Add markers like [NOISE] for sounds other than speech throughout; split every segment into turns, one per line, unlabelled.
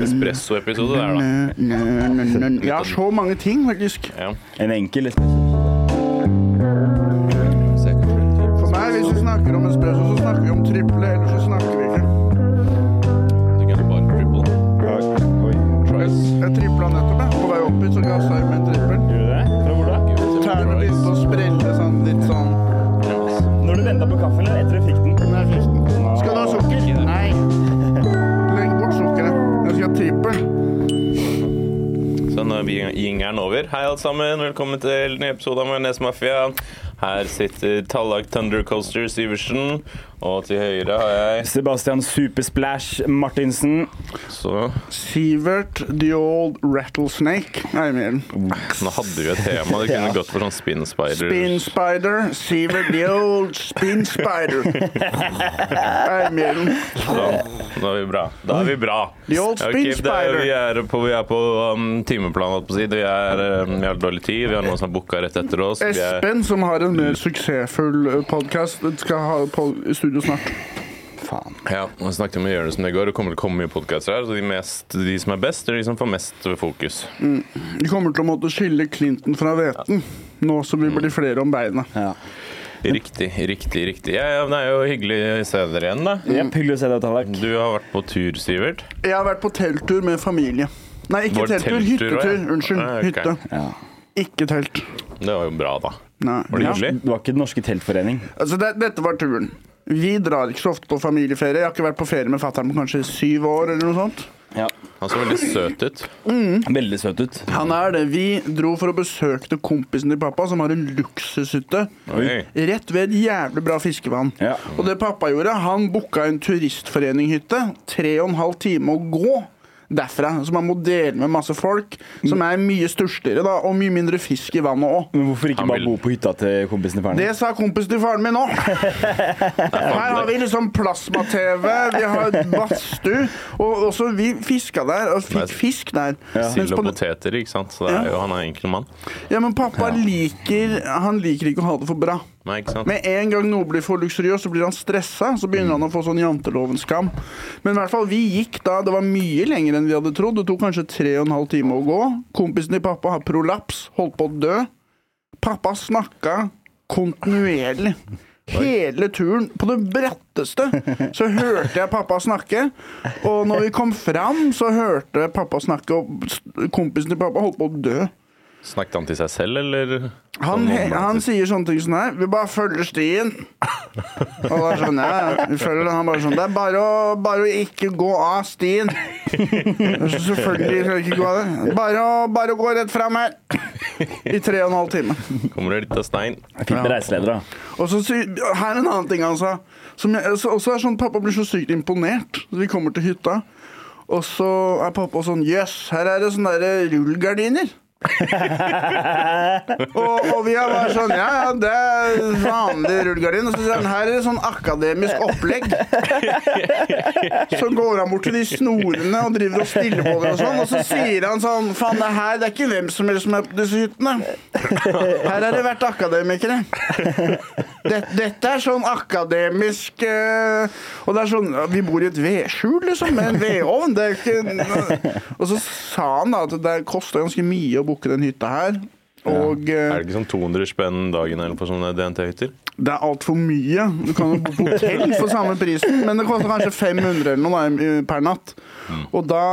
Espresso-episode der, da.
Jeg har så mange ting, faktisk.
Ja.
En enkel
For meg, hvis vi snakker om espresso, så snakker vi om triple, ellers så snakker vi ikke.
Du kan bare triple.
Oi.
Jeg tripla nettopp, jeg. På vei opp hit så gassa jeg med en trippel.
Gjør du det? Fra hvor da?
Tærne begynte å sprelle sånn litt sånn.
Når du venta på kaffen eller etter du fikk den?
Når jeg fikk den. Skal du ha sukker? Nei. Legg bort sukkeret. Jeg skal ha trippel.
Så nå er vi- jingeren over. Hei, alle sammen. Velkommen til en ny episode av Majones Mafia. Her sitter Tallak Thundercoaster Syversen, og til høyre har jeg
Sebastian Supersplash Martinsen.
Så
Sivert the old rattlesnake. Eivind.
Nå hadde vi jo et tema. Det kunne gått for sånn Spin Spider.
Spin spider. Sivert the old spin spider. Eivind.
Da, Sånn. da er vi bra. Da er vi bra.
The old
Ja, ok,
Spin
det er-
Spider.
Vi er på, vi er på um, timeplan, holdt på å si. Vi, er, um, vi har dårlig tid. Vi har noen som har booka rett etter oss. Vi er,
Espen, som har en mer suksessfull podkast, skal ha pod- studio snart. Faen.
Ja, jeg snakket med Jonis om det i går. Det kommer til å komme mye podkaster her. Så de, mest, de som er best, er de som får mest fokus.
Vi kommer til å måtte skille Clinton fra hveten. Nå som vi blir flere om beina.
Ja.
Riktig, riktig, riktig. Ja, ja, men det er jo hyggelig å se dere igjen, da.
Jepp, hyggelig å se deg, Tallak.
Du har vært på tur, Sivert.
Jeg har vært på telttur med familie. Nei, ikke
Var det
telttur.
telttur også,
Hyttetur.
ja?
Unnskyld.
Ah, ok.
Hytte.
Ja.
Ikke telt.
Det var jo bra, da.
Nei.
Var det
Ja.
hyggelig?
Det var ikke Den norske teltforening.
Altså, det, dette var turen. Vi drar ikke så ofte på familieferie. Jeg har ikke vært på ferie med fatter'n på kanskje syv år. eller noe sånt.
Ja.
Han så veldig søt ut.
Veldig søt ut.
Han er det. Vi dro for å besøke kompisen til pappa, som har en luksushytte
Oi.
rett ved et jævlig bra fiskevann.
Ja.
Og det pappa gjorde, han booka en turistforeninghytte. Tre og en halv time å gå derfra. Så man må dele med masse folk, som er mye stussligere da, og mye mindre fisk i vannet òg.
Men hvorfor ikke
Han
bare
vil-
bo på hytta til kompisen til faren?
Det sa kompisen til faren min òg. Her har vi liksom plasma-TV, vi har badstue, og også vi fiska der og fikk fisk der. Mens
Sild
på det-
og poteter, ikke sant. Så det er jo, han er en enkel mann.
Ja, men pappa liker Han liker ikke å ha det for bra.
Nei, ikke sant?
Med en gang noe blir for luksuriøst, så blir han stressa. Så begynner han å få sånn jantelovens skam. Men i hvert fall, vi gikk da. Det var mye lenger enn vi hadde trodd. Det tok kanskje tre og en halv time å gå. Kompisen til pappa har prolaps, holdt på å dø. Pappa snakka kontinuerlig. Hele turen, på det bratteste, så hørte jeg pappa snakke. Og når vi kom fram, så hørte pappa snakke, og kompisen til pappa holdt på å dø.
Snakket han til seg selv, eller?
Han,
Sånn
he,
omvendt.
han sier sånne ting som her. Vi bare følger stien. Og da skjønner jeg. ja, Vi følger den. Han bare sånn Det er bare å, bare å ikke gå av stien. Så selvfølgelig skal vi ikke gå av det. Bare å, bare å gå rett fram her. I tre og en halv time.
Kommer det litt av stein?
Fint med reiseleder, da.
Og så sier Her er en annen ting han sa. Som jeg, så, også er sånn, pappa blir så sykt imponert. Vi kommer til hytta, og så er pappa sånn Jøss, her er det sånne der eh, rullegardiner. og, og vi er bare sånn Ja, ja, det er vanlige rullegardiner. Og så sier han her er det sånn akademisk opplegg. så går han bort til de snorene og driver og stiller på dem og sånn. Og så sier han sånn Faen, det her det er ikke hvem som helst som er på disse hyttene. Her har det vært akademikere. Det, dette er sånn akademisk eh, Og det er sånn ja, Vi bor i et vedskjul, liksom, med en vedovn. Det er ikke Og så sa han da at det kosta ganske mye å booke den hytta her. Og eh,
Er det ikke sånn 200 spenn dagen eller på sånne DNT-hytter?
det er altfor mye. Du kan jo bo på hotell for samme prisen, men det koster kanskje 500 eller noe da, i- per natt. Og da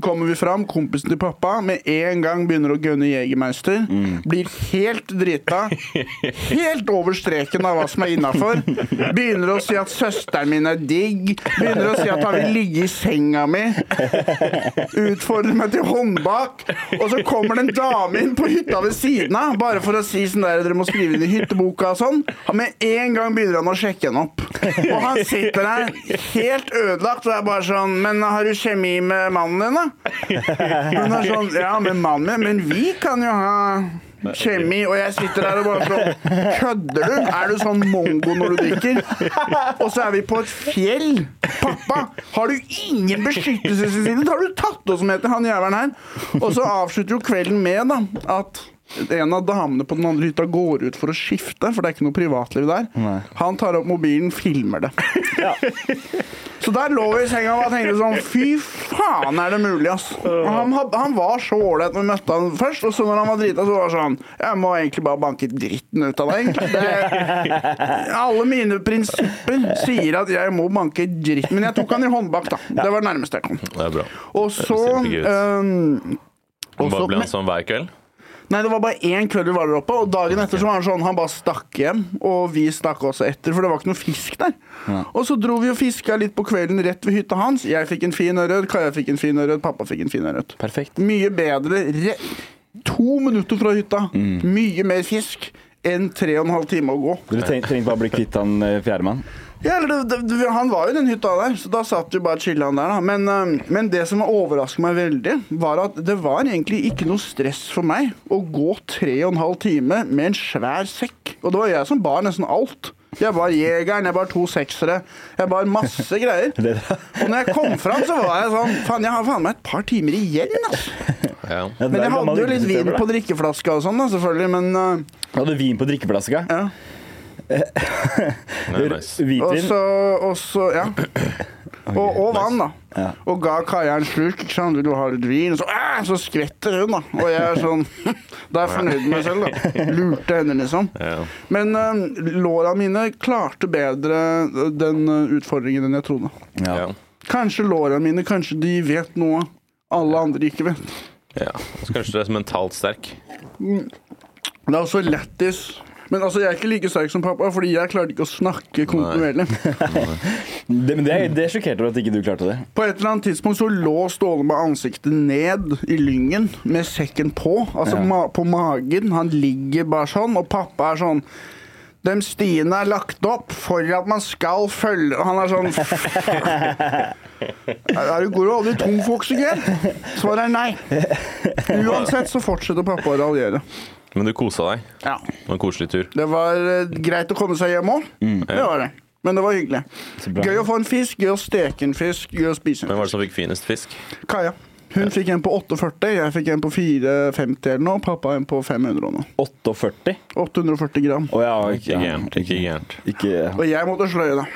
kommer vi fram, kompisen til pappa med en gang begynner å gønne Jegermeister. Blir helt drita. Helt over streken av hva som er innafor. Begynner å si at søsteren min er digg. Begynner å si at han vil ligge i senga mi. Utfordrer meg til håndbak. Og så kommer det en dame inn på hytta ved siden av, bare for å si sånn der dere må skrive inn i hytteboka og sånn. Og Med en gang begynner han å sjekke henne opp. Og han sitter der helt ødelagt og er bare sånn Men har du kjemi med mannen din, da? Hun er sånn Ja, med mannen min, men vi kan jo ha kjemi. Og jeg sitter der og bare sånn Kødder du? Er du sånn mongo når du drikker? Og så er vi på et fjell. Pappa, har du ingen beskyttelsesinstinkt? Har du tatt oss med til han jævelen her? Og så avslutter jo kvelden med da at en av damene på den andre hytta går ut for å skifte, for det er ikke noe privatliv der.
Nei.
Han tar opp mobilen, filmer det. Så der lå vi i senga og bare tenkte sånn Fy faen, er det mulig, ass? Og han, had- han var så ålreit når vi møtte han først, og så når han var drita, så var det sånn Jeg må egentlig bare banke dritten ut av deg, egentlig. Det, alle mine prinsipper sier at jeg må banke dritten Men jeg tok han i håndbak, da. Det var det nærmeste jeg kom.
Det er bra.
Og så
kjempegøy.
øhm, og så-
Bare ble han sånn hver kveld?
Nei, det var bare én kveld vi var der oppe, og dagen etter så var han sånn Han bare stakk hjem, og vi stakk også etter, for det var ikke noe fisk der. Og så dro vi og fiska litt på kvelden rett ved hytta hans. Jeg fikk en fin ørret, Kaja fikk en fin ørret, pappa fikk en fin ørret.
Perfekt.
Mye bedre re to minutter fra hytta. Mye mer fisk enn tre og en halv time å gå.
Dere treng, trengte bare å bli kvitt han eh, fjerdemann.
Ja, eller det, det, det- han var jo i den hytta der, så da satt vi bare og chilla der. Da. Men, eh, men det som overrasket meg veldig, var at det var egentlig ikke noe stress for meg å gå tre og en halv time med en svær sekk. Og det var jeg som bar nesten alt. Jeg bar jegeren, jeg bar to seksere, jeg bar masse greier.
[LAUGHS] Det-
Og når jeg kom fram, så var jeg sånn Faen, jeg har faen meg et par timer igjen, altså.
Ja.
Men jeg hadde jo litt vin på
drikkeflaska.
drikkeflaska og sånn, da, selvfølgelig, men eh,
Hadde vin på drikkeflaska?
ja.
Nei, nice.
Og
Hvitvin?
så, og så Ja. Og, og vann, da.
Ja.
Og ga Kaja en slurk. ikke sant? Vil du ha litt vin? Og så, «Æ!» så skvetter hun, da. Og jeg er sånn [LAUGHS] Da er jeg fornøyd med meg selv, da. Lurte henne, liksom.
Ja.
Men eh, låra mine klarte bedre den eh, utfordringen enn jeg trodde.
Ja.
Ja.
Kanskje låra mine Kanskje de vet noe alle andre ikke vet.
ja. Og så kanskje du er så mentalt sterk.
Det er også lættis. Men altså, jeg er ikke like sterk som pappa, fordi jeg klarte ikke å snakke kontinuerlig.
Det, men det, det sjokkerte meg at ikke du klarte det.
På et eller annet tidspunkt så lå Ståle med ansiktet ned i lyngen, med sekken på. Altså
Ja.
ma på magen. Han ligger bare sånn, og pappa er sånn Dem stiene er lagt opp for at man skal følge Og Han er sånn
[LAUGHS]
Er du god og aldri tom for oksygen? Svaret er nei. Uansett så fortsetter pappa å raljere.
Men du kosa deg.
Ja.
Det var en koselig tur.
Det var eh, greit å komme seg hjem òg. Det var det. Men det var hyggelig.
Mm. Så bra.
Gøy å få en fisk, gøy å steke en fisk, gøy å spise en
Hvem var det som fikk finest fisk?
Kaja. Hun fikk en på 48, jeg fikk en på 450 eller noe, pappa en på 500 og noe.
48?
840 gram.
Å ja,
Ikke
ja,
gærent. Ikke gærent.
Ikke,
Og jeg måtte sløye, da.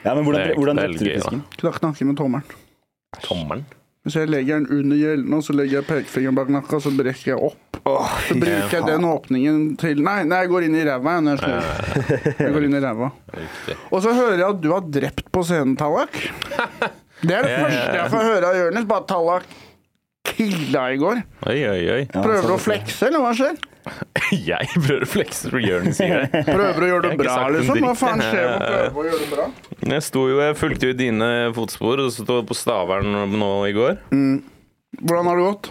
ja, men hvordan,
Det er-
hvordan
det er
drepte du
gøy, da.
fisken?
Knakk nakken med tommelen.
Tommelen?
Hvis jeg legger den under gjeldene, og så legger jeg pekefingeren bak nakka, så brekker jeg opp. Så bruker jeg den åpningen til Nei, nei jeg går inn i ræva jeg, når jeg slår. Jeg går inn i ræva.
Riktig.
Og så hører jeg at du har drept på scenen, Tallak. Det er det
Ja, ja, ja.
første jeg får høre av Jonis. Bare Tallak killa i går.
Oi, oi, oi.
Ja,
Prøver
så-
du å flekse, eller hva skjer?
[LAUGHS] Jeg prøver å flekse for Jonis sier det.
Prøver å gjøre
Jeg har
det
ikke
bra,
sagt en
liksom? Hva
dritt.
faen skjer med å prøve å gjøre det bra?
Jeg sto jo, jeg fulgte jo dine fotspor, og så sto jeg på Stavern nå i går.
Hvordan har det gått?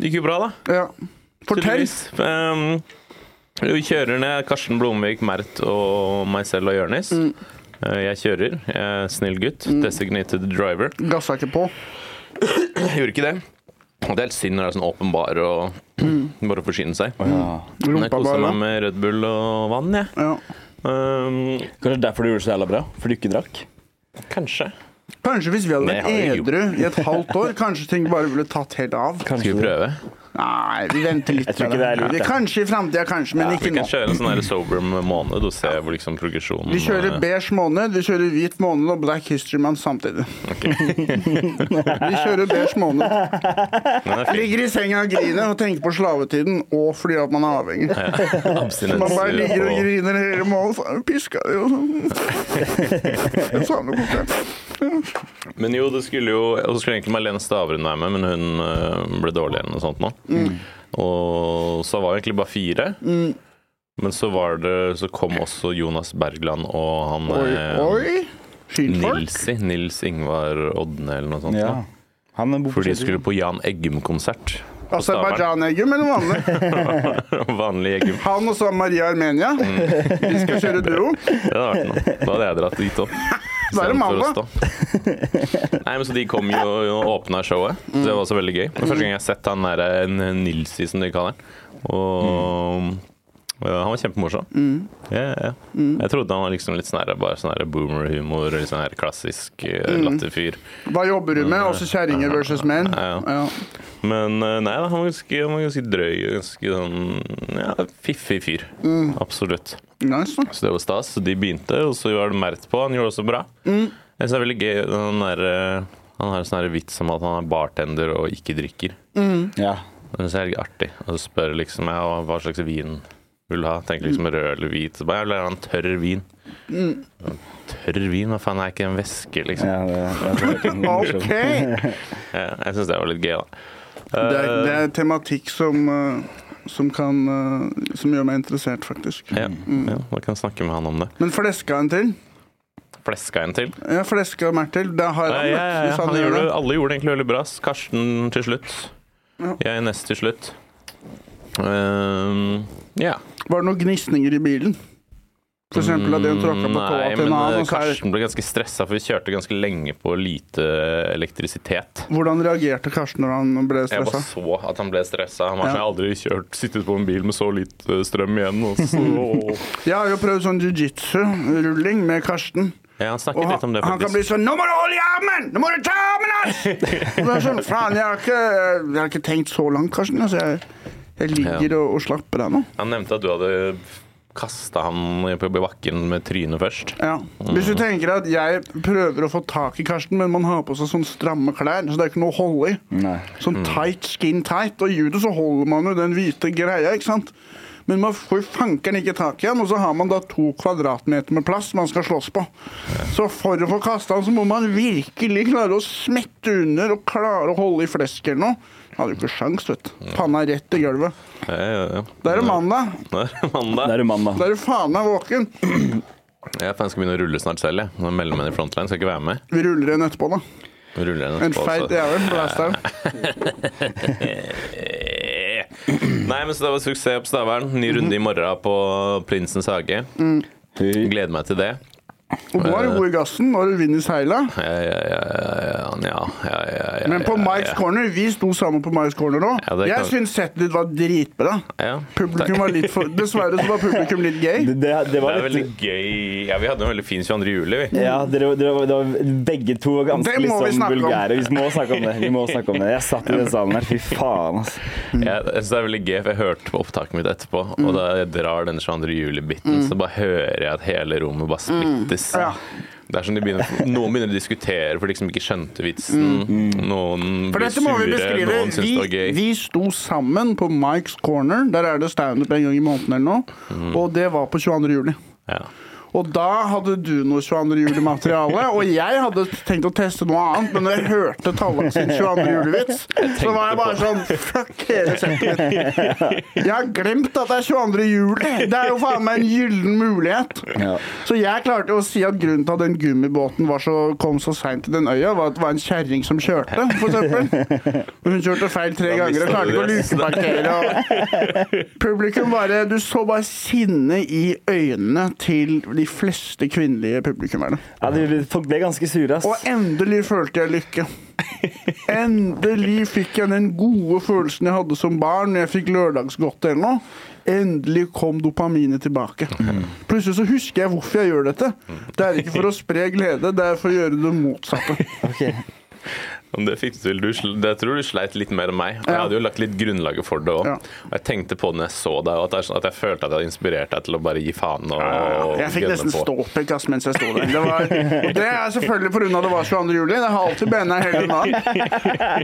Det gikk jo bra, da.
Ja. Fortell.
Tydeligvis. Um, vi kjører ned Karsten Blomvik, Mert og meg selv og Jonis. Uh, Jeg kjører. Jeg er snill gutt. Designated driver.
Gassa ikke på.
Jeg gjorde ikke det. Og Det er helt synd når det er sånn åpenbar og [CLEARS THROAT] bare forsyne seg.
Ja.
Men jeg
Rumpa
koser
bare.
meg med Red Bull og vann, jeg.
Ja.
Um,
Kanskje derfor du gjorde det så jævla bra? Fordi du ikke drakk?
kanskje.
Kanskje hvis vi hadde
Det
vært
har vi
edru i et halvt år, kanskje ting bare ville tatt helt av.
Skal vi prøve?
Nei, vi venter litt.
Jeg tror
med
ikke det er lurt, ja.
Kanskje i framtida, kanskje, men
Vi
ikke
kan
nå.
kjøre en sånn her sober måned og se hvor liksom progresjonen
Vi kjører
eh,
beige måned, vi kjører hvit måned og Black History Month samtidig. [LAUGHS] vi kjører beige måned.
Den er [LAUGHS] fin.
Ligger i senga og griner og tenker på slavetiden og fordi at man er avhengig. Man bare ligger og
Abstinenser og
griner hele måneden. Faen, jeg Piska
[LAUGHS]
jo. Jeg savner borte.
Men jo, det skulle jo Og så skulle egentlig Malene Stavrum være med, men hun eh, ble dårlig eller noe sånt nå.
Mm.
Og så var vi egentlig bare fire. Men så var det Så kom også Jonas Bergland og han
Oi,
eh,
oi. Fint folk.
Nilsi. Nils Ingvar Odne eller noe sånt.
Ja.
nå.
Han bor på
For de
Kjeller.
skulle på Jan Eggum-konsert. [LAUGHS] på
Altså,
Stavern.
Aserbajdsjan-eggum eller vanlig?
Vanlig Eggum.
Han og så Maria Armenia.
Mm.
Vi skal kjøre duo.
Det hadde vært noe. Da hadde jeg dratt dit opp.
[LAUGHS] Da er det mandag. [LAUGHS]
Nei, men så De kom jo og åpna showet. Så Det var
Mm. Mm.
også veldig gøy. Det er første gang jeg har sett han der eh, Nilsi, som de kaller han. Og Og Han var kjempemorsom. Ja, ja, ja.
Mm.
Jeg trodde han var liksom litt sånn her, bare sånn her boomer-humor, litt sånn her klassisk eh,
Mm.
latterfyr.
Hva jobber du med? Også kjerringer versus menn.
Mm. Ja,
Ja.
Men eh, nei da, han var ganske, han var ganske drøy og ganske sånn ja, fiffig fyr.
Mm.
Absolutt.
Nice, da.
Så det var stas. Så de begynte, og så var det Mert på. Han gjorde det også bra.
Mm.
Jeg synes det er veldig gøy den der, eh, Han har en sånn her vits om at han er bartender og ikke drikker.
Ja.
Det synes jeg er litt artig. Og så spør liksom jeg «Å, hva slags vin vil du ha. Tenker liksom
Mm.
rød eller hvit. Så bare jeg vil ha en tørr vin. Tørr vin? Hva faen, er ikke en væske, liksom?
ja det, jeg tror det
[LAUGHS]
er
OK!
morsomt.
Det,
Ja, jeg syns det var litt gøy, da.
er, det er tematikk som, eh, som kan eh, Som gjør meg interessert, faktisk.
Eh, Ja,
Mm.
ja, da kan jeg snakke med han om det.
Men fleska en til?
Fleska en til.
Ja, fleska Mert til. Det har
Ja,
han
ja,
møtt.
ja,
Hvis han
han
gjør
gjorde,
det.
alle gjorde det egentlig veldig bra. Karsten til slutt.
Ja.
Jeg nest til slutt. Ehm, ja.
Var det noen gnisninger i bilen? For eksempel at en tråkka på tåa
Nei,
til
men
en annen.
eh,
Og så er,
Karsten ble ganske stressa, for vi kjørte ganske lenge på lite elektrisitet.
hvordan reagerte Karsten når han ble
Jeg bare
stressa?
så at han ble stressa. Han var sånn,
Ja.
jeg har aldri kjørt, sittet på en bil med så lite strøm igjen.
[LAUGHS]
Og så.
Jeg har jo prøvd sånn jiu-jitsu-rulling med Karsten.
Ja, han
Og
snakket litt
han,
om det,
han kan bli
faktisk.
sånn 'Nå må du holde i armen! Nå må du ta armen hans!'
[LAUGHS]
Og det er sånn, Faen, jeg har ikke, jeg har ikke tenkt så langt, Karsten. Altså, jeg, jeg ligger og, og slapper av nå.
Han nevnte at du hadde kasta ham på bakken med trynet først.
Ja. Hvis
Mm.
du tenker at jeg prøver å få tak i Karsten, men man har på seg sånn stramme klær, så det er ikke noe å holde i.
Nei.
Sånn tight, skin tight. Og i judo så holder man jo den hvite greia, ikke sant? Men man får fankeren ikke tak i han, og så har man da to kvadratmeter med plass man skal slåss på. Så for å få kasta han, så må man virkelig klare å smette under og klare å holde i flesk eller noe. Han Hadde jo ikke sjans, vet du. Panna rett i gulvet.
Ja, ja, ja.
Da er det mandag.
Nå er det mandag.
Det er jo mann,
Da
da.
er du faen meg våken.
Jeg faen skal begynne å rulle snart selv. jeg. Nå melder meg i frontline, skal ikke være med.
Vi ruller en etterpå, da.
Nå Ruller jeg
En
etterpå,
feit
så-
jævel. Blasteren.
Eh. [LAUGHS] Nei, men så det var suksess på Stavern. Ny
Mhm.
runde i morgen på Prinsens hage.
Mm.
Fy.
Gleder meg til det.
Og nå er du god i gassen når du vinner seila.
Ja, ja, ja, ja, ja, ja, ja, ja, ja,
Men på
ja,
Mikes
ja.
Corner, vi sto sammen på Mikes Corner òg.
Ja, det kan-
jeg syns settet ditt var dritbra.
Ja.
Publikum var litt for Dessverre så var publikum litt gay.
Det, det, det
Det
var
er
litt
veldig gøy Ja, vi hadde en veldig fin 22. juli, vi.
Ja, dere, dere, var- det var begge to var ganske
Det må vi
liksom,
snakke om.
vulgære. Vi må snakke om det. Vi må snakke om det. Jeg satt i den salen her. Fy faen, altså.
Mm.
Jeg, jeg synes det er veldig gøy, for jeg hørte på opptaket mitt etterpå, og da jeg drar den 22. juli-biten, så bare hører jeg at hele rommet bare splittes.
Mm. Ja.
Det er som de begynner, Noen begynner å diskutere for de som ikke skjønte vitsen. Noen
Mm. For
blir
dette må vi
sure,
beskrive.
noen syns det var
Vi,
gøy.
vi sto sammen på Mikes Corner. Der er det standup en gang i måneden eller noe.
Mm.
Og det var på 22. juli.
Ja.
Og da hadde du noe 22.
[LAUGHS]
juli-materiale, og jeg hadde tenkt å teste noe annet, men når jeg hørte Tallak sin 22. juli-vits, så var jeg bare sånn Fuck hele settet mitt. Jeg har glemt at det er 22. juli! Det er jo faen meg en gyllen mulighet.
Ja.
Så jeg klarte jo å si at grunnen til at den gummibåten var så, kom så seint til den øya, var at det var en kjerring som kjørte, for eksempel. Hun kjørte feil tre
Da
ganger og klarte ikke å
mistet du
lukeparkere. Og publikum bare Du så bare sinne i øynene til de fleste kvinnelige publikummerne.
Ja, det, folk ble ganske sure, ass.
Og endelig følte jeg lykke. Endelig fikk jeg den gode følelsen jeg hadde som barn når jeg fikk lørdagsgodt eller noe. Endelig kom dopaminet tilbake. Plutselig så husker jeg hvorfor jeg gjør dette. Det er ikke for å spre glede, det er for å gjøre det motsatte.
Ok.
Men det fikk du til. Du, sl- det tror du sleit litt mer enn meg. Og jeg
Ja.
hadde jo lagt litt grunnlaget for det òg.
Ja.
Og jeg tenkte på det når jeg så deg, og at, det er sånn at jeg følte at jeg hadde inspirert deg til å bare gi faen og, og
Jeg fikk
gønne
nesten
på.
ståpikk ass, mens jeg sto der. Det, var, og det er selvfølgelig pga. det var 22. juli. Det har alltid bena hele dagen.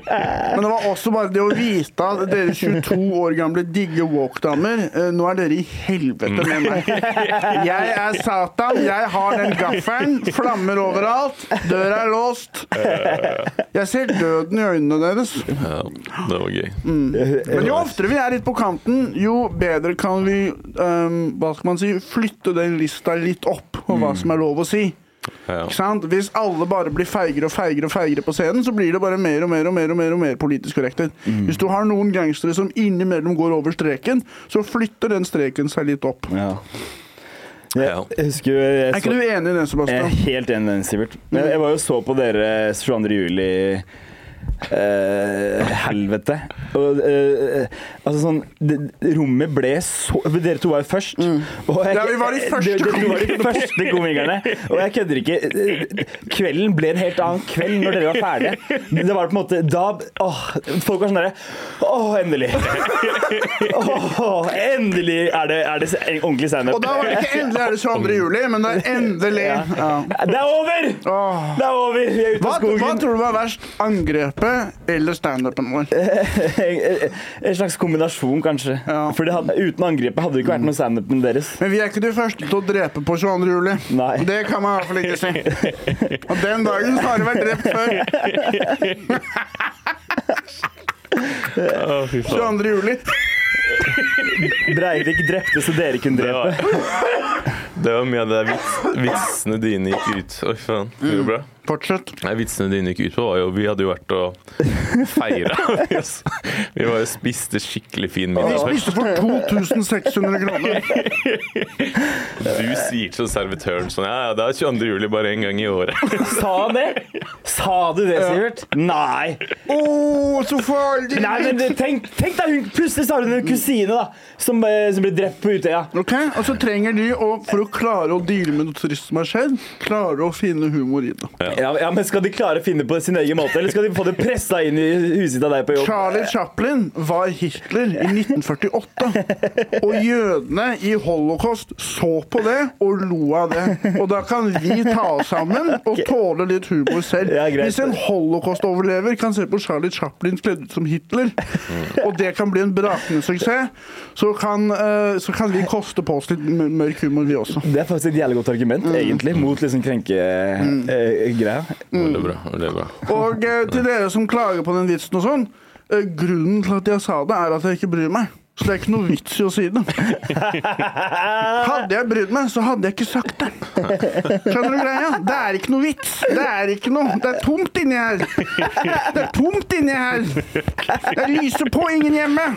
Men det var også bare det å vite at dere 22 år gamle digge walkdamer, eh, nå er dere i helvete med meg. Jeg er Satan, jeg har den gaffelen, flammer overalt, døra er låst. Jeg ser døden i øynene deres.
Ja, det var gøy.
Mm. Men jo oftere vi er litt på kanten, jo bedre kan vi ehm, hva skal man si, flytte den lista litt opp på hva som er lov å si.
Ja.
Ikke sant? Hvis alle bare blir feigere og feigere og feigere på scenen, så blir det bare mer og mer og mer og mer, og mer politisk korrekthet. Hvis du har noen gangstere som innimellom går over streken, så flytter den streken seg litt opp.
Ja. Jeg, jeg husker jo jeg
Er ikke du enig i det,
Jeg er
Sebastian?
helt enig med den, Sivert. Men jeg var jo og så på dere 22. juli eh, helvete. Og, eh, altså sånn det, Rommet ble så Dere to var jo først. Og jeg- eh,
Ja, vi var de første
dere, dere var de første komikerne. Og jeg kødder ikke. eh, Kvelden ble en helt annen kveld når dere var ferdige. Det var på en måte Da åh, Folk var sånn derre Åh, endelig! Åh, endelig er det, er det en ordentlig standup.
Og da var det ikke endelig er det 22. juli, men det er endelig ja.
Det er over!
Åh.
Det er over! Vi er ute
Hva,
av
hva
skogen.
tror du var verst? Angrepet eller standupen vår?
[LAUGHS] En slags kombinasjon, kanskje.
Ja.
For det hadde, uten angrepet hadde det ikke vært noe standupen deres.
Men vi er ikke de første til å drepe på 22. juli.
Nei.
Det kan man i hvert fall ikke si. Og den dagen så har det vært drept før.
Å, fy faen.
22. juli.
Breivik drepte så dere kunne
Det
drepe.
var, det var mye av det der vits, vitsene dine gikk ut Oi, faen. Det går bra.
Fortsett.
Mm. Nei, Vitsene dine gikk ut på, var jo Vi hadde jo vært og feira. [LAUGHS] Vi var jo spiste skikkelig fin
Vi
middag først.
spiste for 2600 kroner.
Du sier til servitøren sånn Ja, ja, det er 22. juli bare én gang i året.
[LAUGHS]
[LAUGHS]
Sa han det? Sa du det, Sivert? Nei.
Å, så farlig!
Nei, men du, tenk, tenk da, hun, Plutselig så har hun en kusine da som, eh, som ble drept på Utøya.
Ok, Og så trenger de, å, for å klare å deale med noe trist som har skjedd, klare å finne humor i det.
Ja, ja, men Skal de klare å finne på sin egen måte, eller skal de få det pressa inn i huset sitt av deg på jobb?
Charlie Chaplin var Hitler i 1948. Og jødene i holocaust så på det og lo av det. Og da kan vi ta oss sammen og tåle litt humor selv.
Ja, greit.
Hvis en holocaust-overlever kan se på Charlie Chaplin kledd ut som Hitler, og det kan bli en brakende suksess, så kan, eh, så kan vi koste på oss litt m- mørk humor, vi også.
Det er faktisk et jævlig godt argument, egentlig, mot liksom eh, krenkegreia.
Mm.
Veldig bra. veldig bra
Og eh, til dere som klager på den vitsen og sånn, eh, grunnen til at jeg sa det, er at jeg ikke bryr meg. Så det er ikke noe vits i å si det. Hadde jeg brydd meg, så hadde jeg ikke sagt det. Skjønner du greia? Det er ikke noe vits. Det er ikke noe. Det er tomt inni her. Det er tomt inni her. Det lyser på ingen hjemme.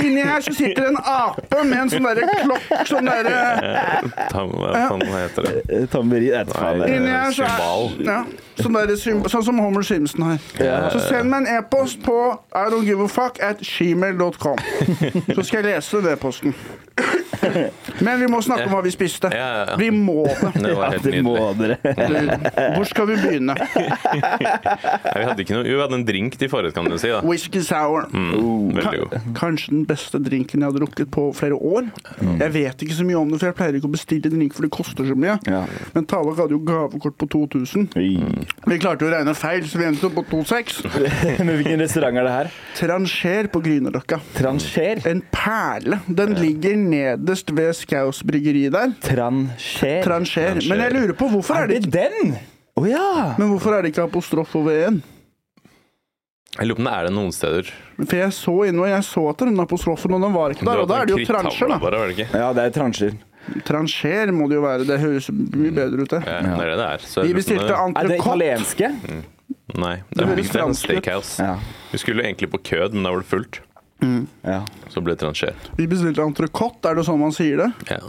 Inni her så sitter en ape med en sånn derre klokk sånn derre
Tam, hva faen heter det?
Eh, Tommeri er et faen. det.
Nei,
Inni her så
Symbal.
er ja, sånn, der, sym- sånn som Homer Simpson her. Så send meg en e-post på I don't give a fuck at
[LAUGHS]
gmail.com. Så skal jeg lese den e-posten. Men vi må snakke om hva vi spiste.
Ja, ja, ja.
Vi må det.
Det var
Ja,
helt
det må
nydelig.
dere.
Hvor skal vi begynne?
Nei, vi hadde ikke noe Vi hadde en drink til forrett, kan du si. da
Whisky sour.
mm,
Ka-
Veldig god.
Kanskje den beste drinken jeg har drukket på flere år.
Mm.
Jeg vet ikke så mye om det, for jeg pleier ikke å bestille drink, for det koster så mye.
Ja.
Men Tallak hadde jo gavekort på 2000. Vi klarte jo å regne feil, så vi endte opp på 26.
[LAUGHS] Men hvilken restaurant er det her?
Trancher på Grünerløkka.
Trancher?
En perle. Den ligger nederst ved Skaus bryggeri der.
Trancher.
Trancher. Men jeg lurer på hvorfor er
er
det
det
ikke
den? Å ja!
men hvorfor er det ikke apostrof over en?
Jeg lurer på om det er det noen steder.
For jeg så inne, og jeg så etter den apostrofen, og den var ikke der. Og da er det jo transjer, da.
Bare, var det ikke?
Ja, det er trancher.
Trancher må det jo være. Det høres mye bedre ut, det.
Ja, det er det det er. sånn, Så
Vi
jeg lurer på om
bestilte
Er det
entrecôte.
italienske?
det- Nei, det
Det
er,
høres
det er en
fransk ut.
steakhouse.
Ja.
Vi skulle egentlig på kød, men da var det fullt.
ja.
Så ble det transjer.
Vi bestilte entrecôte, er det sånn man sier det?
Ja.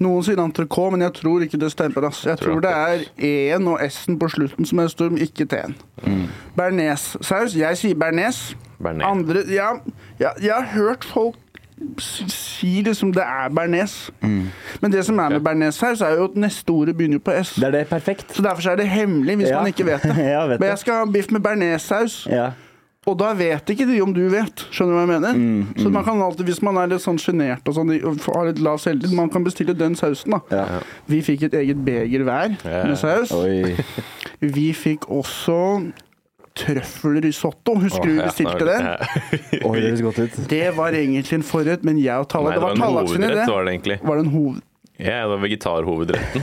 Noen sier entrecôte, men jeg tror ikke det stemmer. Ass. Jeg tror det er E-en og S-en på slutten som er stum, ikke T-en.
Mm.
Bearnéssaus. Jeg sier bearnés.
Bearnés.
Andre ja, ja, Jeg har hørt folk s- si liksom det er bearnés.
Mm.
Men det som er med bearnéssaus, er jo at neste ordet begynner jo på S.
Det er det perfekt.
Så derfor så er det hemmelig hvis
Ja.
man ikke vet det.
[LAUGHS] Ja, vet
men
det.
jeg skal ha biff med bearnéssaus.
Ja.
Og da vet ikke de om du vet. Skjønner du hva jeg mener?
Mm,
Så man kan alltid, Hvis man er litt sånn sjenert og sånn, og har litt lav selvtillit, man kan bestille den sausen. da.
Ja.
Vi fikk et eget beger hver
Ja.
med saus.
[LAUGHS] Oi.
Vi fikk også trøffelrisotto. Husker du vi bestilte den?
Oi, det høres godt ut.
Det var egentlig en forrett, men jeg og Tallak
Nei,
Det var
en
Tallak sin idé.
hovedrett, var det egentlig.
Var det en hoved...
Ja, det var
[LAUGHS]
vegetarhovedretten.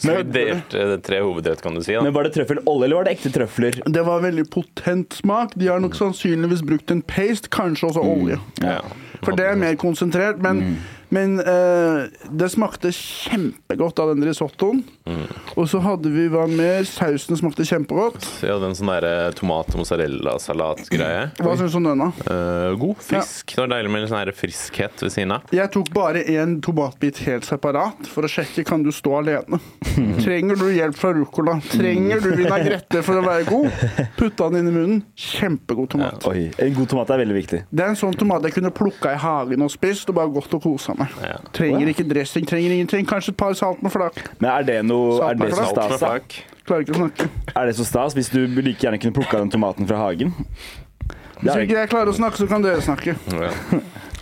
Så vi delte eh, tre hovedrett, kan du si. da
Men Var det trøffelolje, eller var det ekte trøfler?
Det var veldig potent smak. De har nok sannsynligvis brukt en paste, kanskje også olje.
Mm. Ja. Mm.
For det er mer konsentrert, men Men eh, det smakte kjempegodt av den risottoen.
Mm.
Og så hadde vi hva mer? Sausen smakte kjempegodt.
Så jeg hadde en sånn derre tomat-mozzarella-salat-greie.
Hva syns du om den, da?
Eh, god. Frisk. Det var deilig med litt sånn her friskhet ved siden av.
Jeg tok bare én tomatbit helt separat for å sjekke kan du stå alene. Trenger du hjelp fra ruccola? Trenger du vinagrette for å være god? Putta den inn i munnen. Kjempegod tomat.
Oi, En god tomat er veldig viktig.
Det er en sånn tomat jeg kunne plukka i hagen og spist og bare gått og kosa meg.
Ja.
Trenger ikke dressing, trenger ingenting. Kanskje et par salt med flak.
Men er det noe er det så
Salt
Alt med
stas? da?
flak.
Klarer ikke å snakke.
Er det så stas hvis du like gjerne kunne plukka den tomaten fra hagen? Det
Hvis
er,
ikke jeg klarer å snakke, så kan dere snakke.
Ja.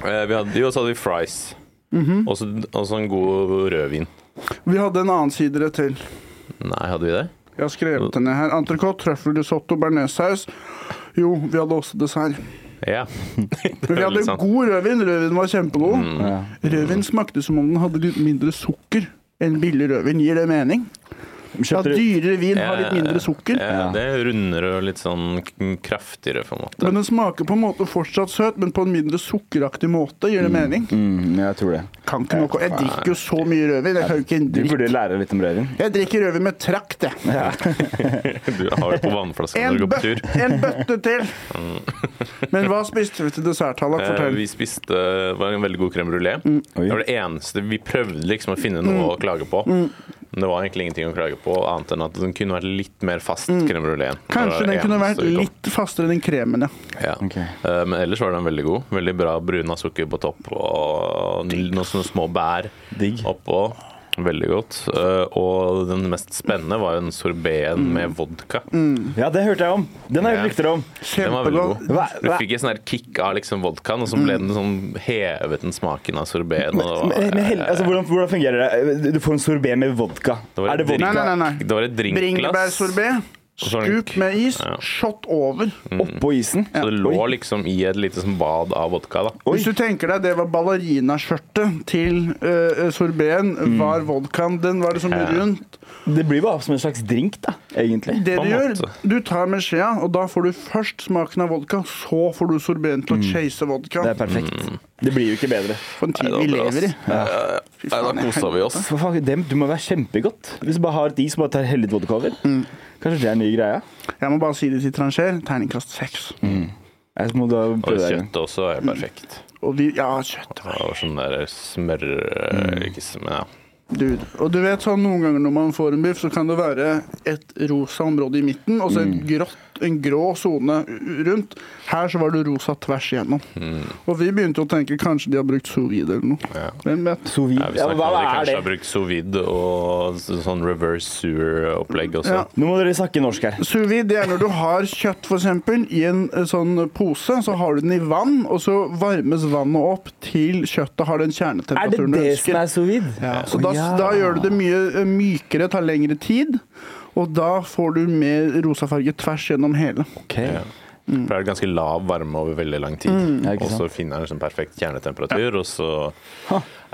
Eh, vi hadde, jo, så hadde vi fries.
Mhm.
Og så- Og så en god rødvin.
Vi hadde en annen sidere til.
Nei, hadde vi det?
Jeg har skrevet den ned her. Entrecôte, trøffelrisotto, bearnéssaus. Jo, vi hadde også dessert. [LAUGHS]
Ja. sånn Mm.
Men vi hadde god rødvin. Rødvin var kjempegod.
ja.
Rødvin smakte som om den hadde litt mindre sukker enn billig rødvin. Gir det mening? Ja,
Kjøpte du-
dyrere vin har litt mindre sukker.
Ja, Eh, det er rundere og litt sånn k- kraftigere, på en måte.
Men den smaker på en måte fortsatt søt, men på en mindre sukkeraktig måte. Gir det mening?
Mm, jeg tror det.
Kan ikke noe. Jeg drikker jo så mye rødvin. Jeg kan jo ikke en
Du
dritt.
burde lære litt om rødvin.
Jeg drikker rødvin med trakt, jeg.
Du har det på vannflaska når
En,
du går på
bø
tur.
[LAUGHS]
Mm.
en bøtte til! Men hva spiste vi til dessert, Hallak?
Eh,
Fortell. Mm.
Vi spiste det var en veldig god crème brulé.
Oi.
Det var det eneste vi prøvde liksom å finne noe å klage på.
Mm.
Men det var egentlig ingenting å klage på, annet enn at den kunne vært litt mer fast. crème brulé.
Mm. Kanskje den kunne vært litt fastere enn den kremen, ja.
Ja.
Ok.
Eh, Men ellers var den veldig god. Veldig bra bruna sukker på topp og n- noen sånne små bær
Digg.
oppå. Veldig godt. Eh, Og den mest spennende var jo den
Mm.
sorbeten med vodka.
Ja, det hørte jeg om. Den har jeg
Ja.
hørt rykter om.
Den var veldig
Kjempegod.
god.
Hva-
Du
hva-
fikk et sånn her kick av liksom vodkaen, og så
Mm.
ble den sånn hevet den smaken av sorbeten. Og
Men,
det
men
var, eh,
hel, altså, hvordan, hvordan fungerer det? Eh, Du får en sorbé med vodka.
Det var
Er det
dritt.
vodka
Nei, nei, nei.
det
nei.
var et drinkglass.
Bringebærsorbé.
så var den-
Skup med is.
Ja.
Shot over.
oppå isen?
Så det lå
Oi.
liksom i et lite sånn bad av vodka. da
Hvis du tenker deg det var ballerinaskjørtet til uh, sorbeen,
Mm.
var vodkaen Den var liksom rundt.
Det blir bare som en slags drink, da, egentlig.
Det
På
du
en
gjør,
måte.
du tar med skjea, og da får du først smaken av vodka, så får du sorbeen
Mm.
til å chase vodka.
Det er perfekt. Det blir jo ikke bedre.
For en tid
Nei,
vi
det var bra,
lever i.
ass. Eh, Nei, da kosa vi oss.
For faen, dem, du må være kjempegodt. Hvis du bare har et is og bare tar helle litt vodka over. Kanskje det er nye greia?
Jeg må bare si det til Trancher. Terningkast seks.
Mm.
Jeg må da
Og
prøve det igjen.
kjøttet også er perfekt.
Og vi Ja, kjøtt.
Det var sånn der smør... eh, Ikke smør ja.
Dude. Og du vet sånn noen ganger når man får en biff, så kan det være et rosa område i midten, og så en, grått, en grå sone u- rundt. Her så var det rosa tvers igjennom. Og vi begynte å tenke kanskje de har brukt sous vide eller noe.
Ja.
Hvem vet?
Sous vide.
Ja, vi
Ja,
snakket
hva
om at de
er
kanskje
det?
har brukt sovid og så- sånn reverse sewer-opplegg også.
Ja.
Nå må dere snakke norsk her.
Sous vide det er når du har kjøtt for eksempel, i en eh, sånn pose, så har du den i vann, og så varmes vannet opp til kjøttet har den
Er det
kjernetemperaturen du
det
ønsker.
som er sous vide?
Ja, så
Å,
da,
ja.
da gjør du det mye eh, mykere, tar lengre tid, og da får du mer rosafarge tvers gjennom hele.
Ok.
Ja. For det er ganske lav varme over veldig lang tid.
Mm. Ja, ikke
Og så
sant?
finner den sånn perfekt kjernetemperatur, og så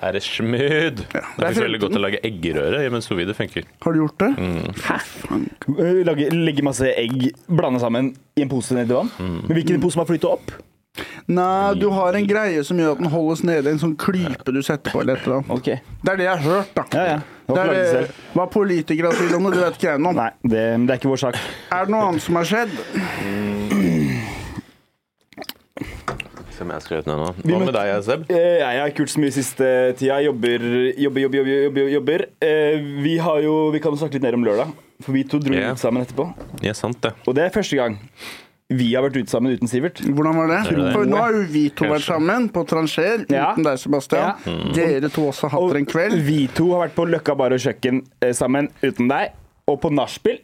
er det smooth! Det er
Det er
faktisk veldig godt å lage eggerøre i, men sovide funker.
Har du gjort det?
Mm.
Øh, Lage, legge masse egg, blande sammen i en pose nedi vann. Men hvilken pose må flyte opp?
Nei, du har en greie som gjør at den holdes nede, en sånn klype du setter på eller et eller annet.
Ok.
Det er det jeg har hørt, da.
Ja, ja. Det
Det er
var ikke laget
det,
selv.
hva politikere sier om det, det vet ikke jeg noe om.
Nei, det, det er ikke vår sak.
Er det noe annet som har skjedd?
Se om jeg har skrevet ned nå.
Vi
Hva med
møtte-
deg, Seb?
Eh, Jeg har ikke gjort så mye siste tida. Jeg Jobber, jobber, jobber. jobber, jobber, jobber. Eh, Vi, har jo, vi kan jo snakke litt mer om lørdag, for vi to dro
Ja.
ut sammen etterpå.
Ja, sant det.
Og det er første gang vi har vært ute sammen uten Sivert.
Hvordan var det?
er det.
For nå har jo vi to vært
Kanskje. Mm.
sammen på Trancher
Ja.
uten deg, Sebastian.
Ja.
Dere to også har hatt dere en kveld.
vi to har vært på Løkka bar og kjøkken eh, sammen uten deg. Og på nachspiel.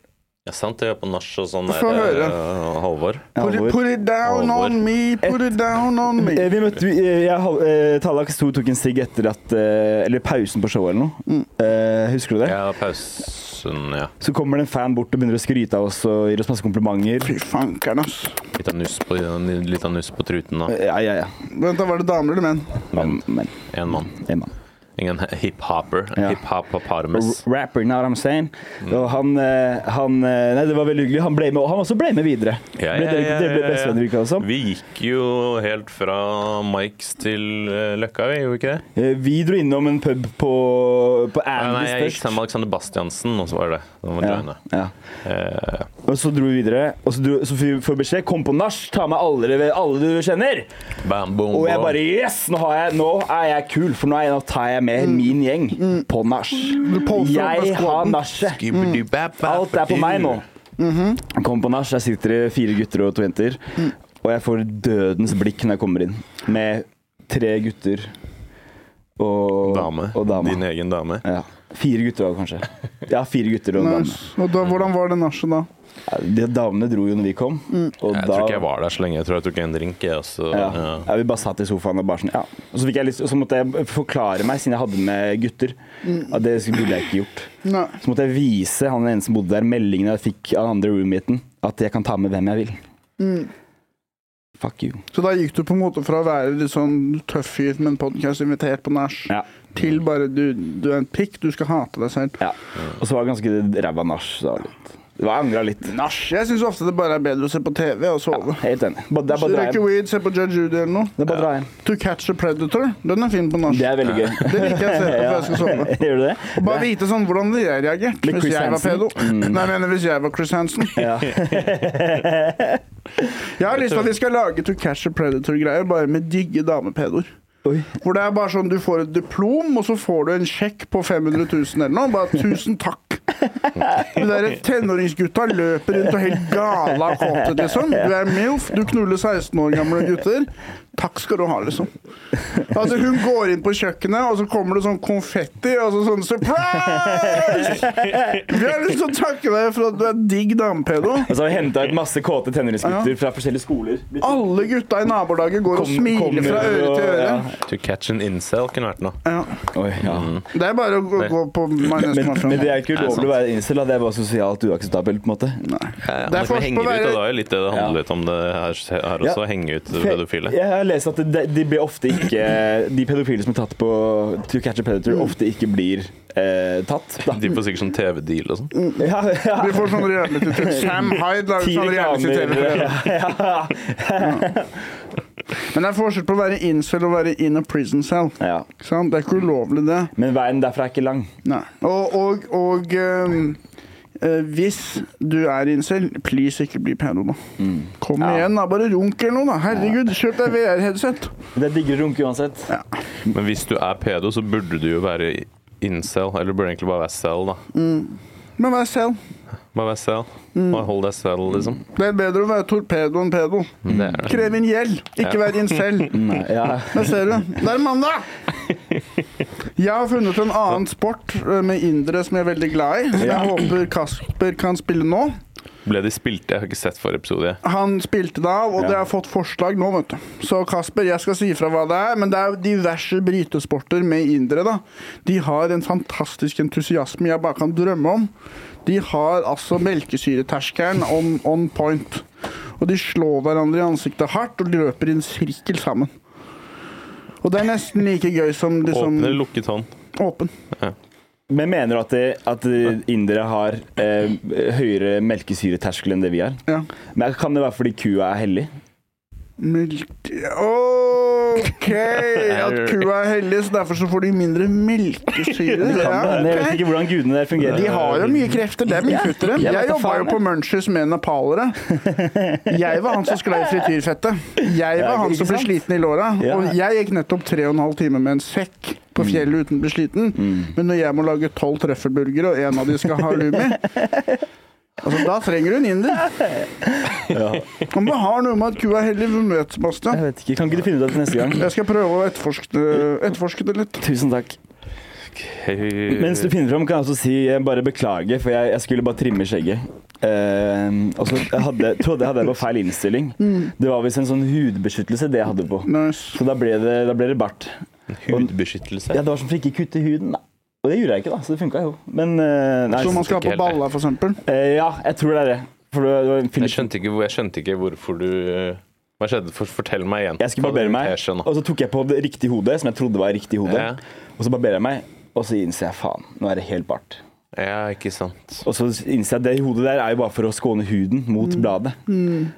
Ja, sant det. På nach og sånn
Få
der.
høre.
eh, Halvor.
Put it, put it down
Alvor.
on me, put it down on me.
Eh, Vi møtte, vi- eh, jeg, hal- eh, Tallak sto og tok en sigg etter at eh, Eller pausen på showet eller noe. Eh, Husker du det?
Ja, pausen, ja.
Så kommer det en fan bort og begynner å skryte av oss og gir oss masse komplimenter.
Fy fankeren, ass.
Litt av nuss på,
Eh,
litt av nuss på truten, da.
Ja, ja, ja.
Vent, da var det damer eller menn?
Men, men
Én mann.
en mann.
Ingen hip-hopper.
Ja.
Hip-hop-hopparmus.
Rapper, now I'm saying.
Mm.
Og han, eh, han eh, Nei, det var veldig hyggelig. Han ble med, og han også ble med videre.
Ja,
ble,
ja,
dere,
ja,
dere
ja,
ble
ja.
bestevenner, virka det som.
Vi gikk jo helt fra Mikes til eh, Løkka, vi gjorde vi ikke det?
Eh, Vi dro innom en pub på, på
Nei, nei, jeg
Andes
gikk
først.
sammen med Alexander Bastiansen, og så var det det. Da må vi
Ja,
joine.
ja.
Eh,
Og så dro vi videre, og så, dro, så fikk vi- får vi beskjed kom på nach, ta med alle, dere- alle du kjenner.
bam, boom,
Og jeg
boom.
bare Yes! Nå, har jeg, nå er jeg kul, for nå, er jeg, nå tar jeg med min gjeng på nach.
Mm. poser opp med
Jeg har
squaden.
nachet.
Skibbidi-bap-bap.
Alt er på meg nå.
Mm-hmm.
Kom på nach, der sitter det fire gutter og to jenter.
Mm.
Og jeg får dødens blikk når jeg kommer inn, med tre gutter og
Dame.
Og dame.
Din egen dame.
Ja. Fire gutter var det kanskje. Ja, fire gutter og en dame.
Nice. Og da, hvordan var det nachet da?
Ja, de damene dro jo når vi kom.
Mm.
Og
Jeg tror ikke jeg var der så lenge. Jeg tror jeg tok en drink, jeg også.
ja.
Ja.
Ja, vi bare satt i sofaen og bare sånn, ja. Og så, fikk jeg lyst, og så måtte jeg forklare meg, siden jeg hadde med gutter,
Mm.
at det burde jeg ikke gjort.
Nei.
Så måtte jeg vise han ene som bodde der, meldingen jeg fikk av den andre roommaten, at jeg kan ta med hvem jeg vil.
Mm.
Fuck you.
Så da gikk du på en måte fra å være litt sånn tøff fyr med en podcast invitert på nach,
Ja.
til bare du, du er en pikk, du skal hate deg selv.
ja. Og så var det ganske ræva nach. så det var litt- Det var angra litt.
Nach. Jeg syns ofte det bare er bedre å se på TV og sove.
Helt enig. Bare- Det er bare å dra
Røyke
hjem.
weed, se på Judge Judy eller noe.
Det er bare å dra hjem.
To Catch a Predator, den er fin på nach.
Det er veldig
[LAUGHS]
gøy.
Det liker jeg å se på før jeg skal sove.
[LAUGHS] Gjør du det?
Og Bare vite sånn hvordan hadde jeg reagert
Litt
hvis
Chris
jeg var
Hansen. Mm.
pedo. Nei, jeg mener hvis jeg var Chris Hansen.
Ja.
Jeg har lyst til at vi skal lage To Catch a Predator-greier, bare med digge damepedoer.
Oi.
Hvor det er bare sånn du får et diplom, og så får du en sjekk på 500 000 eller noe. Bare 'tusen takk'. De der tenåringsgutta løper rundt og er helt gala av kåthet, liksom. Du er MILF, du knuller 16 år gamle gutter. Takk skal du ha, liksom. Altså, hun går inn på kjøkkenet, og så kommer det sånn konfetti, og så sånn 'surprise'! Vi har lyst til å takke deg for at du er digg damepedo.
Og så har vi henta ut masse kåte tenåringsgutter fra forskjellige skoler. Blitt
Alle gutta i nabolaget går og
Kom-
smiler
kommer
fra øre
og-
til øre.
ja.
To catch an incel kunne vært noe.
Ja.
Oi, ja.
Det er bare å gå, gå på Majones
Men, men det
Mafia.
er ikke ulovlig å være incel, da. det er bare sosialt uakseptabelt. på en måte
Ja,
Det
ja,
er
men
forskjell
henger
på å
ut, og
være-
det var jo litt det det handlet litt om det her, her også.
Ja.
Henge ut pedofile.
Jeg har lest at de, de blir ofte ikke De pedofile som er tatt på To catch a predator, ofte ikke blir eh, tatt. Da.
De får sikkert sånn TV-deal og sånn.
[LAUGHS] Ja, [LAUGHS] ja.
Vi får sånn reality-TV. Sam Hyde lager
Ti
sånn
reklamer.
reality-TV.
Ja, [LAUGHS] ja.
Men det er forskjell på å være incel og å være in a prison cell.
ja.
Ikke sant? Det er ikke ulovlig, det.
Men veien derfra er ikke lang.
Nei. Og, og, og ehm, eh, hvis du er incel, please ikke bli pedo, da. Kom
Mm. Ja.
igjen, da. Bare runk eller noe, da. Herregud, kjøp deg VR-headset.
Det er diggere å runke uansett.
Men hvis du er pedo, så burde du jo være incel. Eller burde egentlig bare være cell, da.
Men vær selv.
Bare være cell. Bare hold deg selv, liksom.
Det er bedre å være torpedo enn pedo.
Det er det.
Krev inn gjeld, ikke vær
[LAUGHS]
incel.
Nei, ja.
Der ser du. Det er mandag! Jeg har funnet en annen sport eh, med indere som jeg er veldig glad i. Som jeg håper Kasper kan spille nå.
Ble de spilt? Jeg har ikke sett forrige episode. jeg.
Han spilte det av, og
Ja.
det har fått forslag nå, vet du. Så Kasper, jeg skal si ifra hva det er, men det er diverse brytesporter med indere, da. De har en fantastisk entusiasme jeg bare kan drømme om. De har altså melkesyreterskelen on, on point. Og de slår hverandre i ansiktet hardt og løper i en sirkel sammen. Og det er nesten like gøy som liksom
Åpne eller lukket hånd.
Åpen.
Men mener du at, det, at eh, indere har eh, høyere melkesyreterskel enn det vi har?
Ja.
Men Kan det være fordi kua er hellig?
Melk...
[LAUGHS]
OK! At kua er hellig, så derfor så får de mindre
[LAUGHS]
melkesyre.
Kan det
Ja,
hende? Jeg vet
ok.
ikke hvordan gudene der fungerer.
De har jo mye krefter, det er mye kutt i dem.
jeg vet
Jeg
da
jobba
faen,
jo på
jeg.
Munchies med nepalere. Jeg var han som sklei frityrfettet. Jeg
Ja,
var han
ikke
som ble
sant?
sliten i låra.
Ja. Mm.
Og jeg gikk nettopp tre og en halv time med en sekk på fjellet uten å bli sliten. Men når jeg må lage tolv trøffelburgere, og en av de skal ha halloumi
[LAUGHS]
Altså, da trenger hun inder. Om det har noe med at kua heller møter
Jeg
Bastian.
vet ikke. Kan ikke du finne ut av det til neste gang?
Jeg skal prøve å etterforske, etterforske det litt.
Tusen takk. Mens du finner fram, kan jeg også si jeg bare beklage, for jeg, jeg skulle bare trimme skjegget. Eh, og så hadde, trodde jeg hadde jeg på feil innstilling. Det var visst en sånn hudbeskyttelse det jeg hadde på.
Nice.
Så da ble det, da ble det bart. Ja,
Hudbeskyttelse.
det var sånn for ikke kutte huden, da. Og det gjorde jeg ikke, da, så det funka jo. Men eh, nei,
Som man skal ha på
helt det.
balla, for eksempel.
eh, Ja, jeg tror det er det. For det var en
Jeg
film
skjønte ikke, hvor- jeg skjønte ikke hvorfor du eh, Hva skjedde? For, fortell meg igjen.
Jeg skulle barbere meg,
Hesje nå.
og så tok jeg på det riktige hodet, som jeg trodde var riktig hode.
Ja.
Og så barberer jeg meg, og så innser jeg faen, nå er det helt bart.
Ja, ikke sant.
Og så innser jeg at det hodet der er jo bare for å skåne huden mot
Mm.
bladet.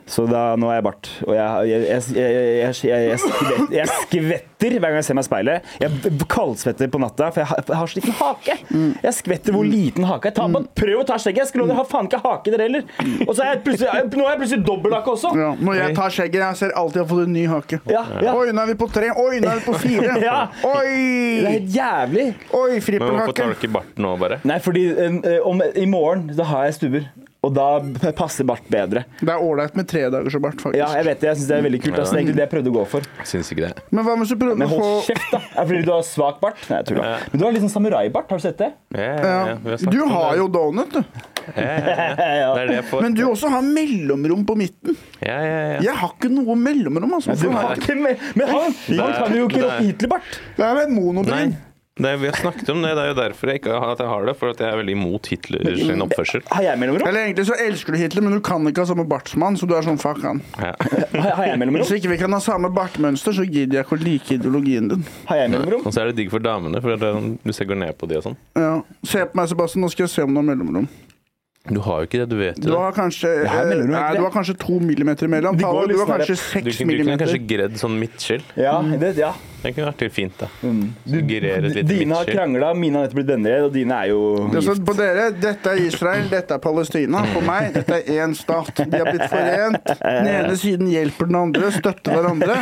Så da, nå er jeg bart. Og jeg, jeg, jeg, jeg, jeg, jeg, jeg, skvetter, jeg skvetter hver gang jeg ser meg i speilet. Jeg kaldsvetter på natta, for jeg har, jeg har så liten hake.
Mm.
Jeg skvetter hvor liten hake jeg tar på. Prøv å ta skjegget! Jeg skulle aldri ha faen ikke hake dere heller. Og så er jeg plutselig, nå er jeg plutselig dobbelthake også.
Ja, når jeg tar skjegget, jeg ser alltid jeg har fått en ny hake.
Ja, ja.
Oi, nå er vi på tre. Oi, nå er vi på fire.
[LAUGHS] Ja. Det er
Oi!
helt jævlig.
Oi,
Men hvorfor
frippelhake.
tar du ikke bart nå, bare?
Nei, fordi eh, om, i morgen da har jeg stubber. Og da p- passer bart bedre.
Det er ålreit med tre dager så bart, faktisk.
Ja, jeg vet det. Jeg syns det er veldig kult. Altså, det er egentlig det jeg prøvde å gå for.
Syns ikke det.
Men hva hvis du prøvde
Men
å
hold
få
kjeft, da! Er det fordi du har svak bart? Nei, jeg tuller. Men du har litt sånn samuraibart. Har du sett det?
Ja, ja, ja, vi
ja.
snakket
Du
om
har
det.
jo donut, du.
Det er det jeg får.
Men du også har mellomrom på midten.
Ja, ja, ja.
Jeg har ikke noe mellomrom. Altså.
Du har ikke mer Men han, han
Nei.
kan jo ikke
Nei.
Hitler-bart!
Det er et
Nei.
monobryn.
Det, er- vi har snakket om det. Det er jo derfor jeg ikke har, at jeg har det. For at jeg er veldig imot Hitler [LAUGHS] sin oppførsel.
Har jeg mellomrom?
Eller egentlig så elsker du Hitler, men du kan ikke ha samme bartsmann, så du er sånn fuck han.
Ja.
Har har jeg
Hvis
mellomrom?
ikke vi kan ha samme bartmønster, så gidder jeg ikke å like ideologien din.
Har jeg mellomrom?
Og så er det digg for damene, for at det- hvis jeg går ned på de og sånn.
Ja. Se på meg, Sebastian, nå skal jeg se om du har mellomrom.
Du har jo ikke det, du vet
Du
jo det.
har kanskje,
har
eh,
mellomrom,
nei,
egentlig.
du har kanskje to millimeter imellom.
De går
Paolo, du
litt
har kanskje
Du
seks
kunne, du kunne
millimeter.
kanskje gredd sånn midtskill.
Ja. Det, ja.
Det kunne vært litt fint, da.
Mm.
Gerere et lite
Dine har
midtskill.
krangla, mine har nettopp blitt venner, og dine er jo
Det er sånn på dere, dette er Israel, dette er Palestina. For meg, dette er én stat. De har blitt forent. Den ene siden hjelper den andre, støtter hverandre.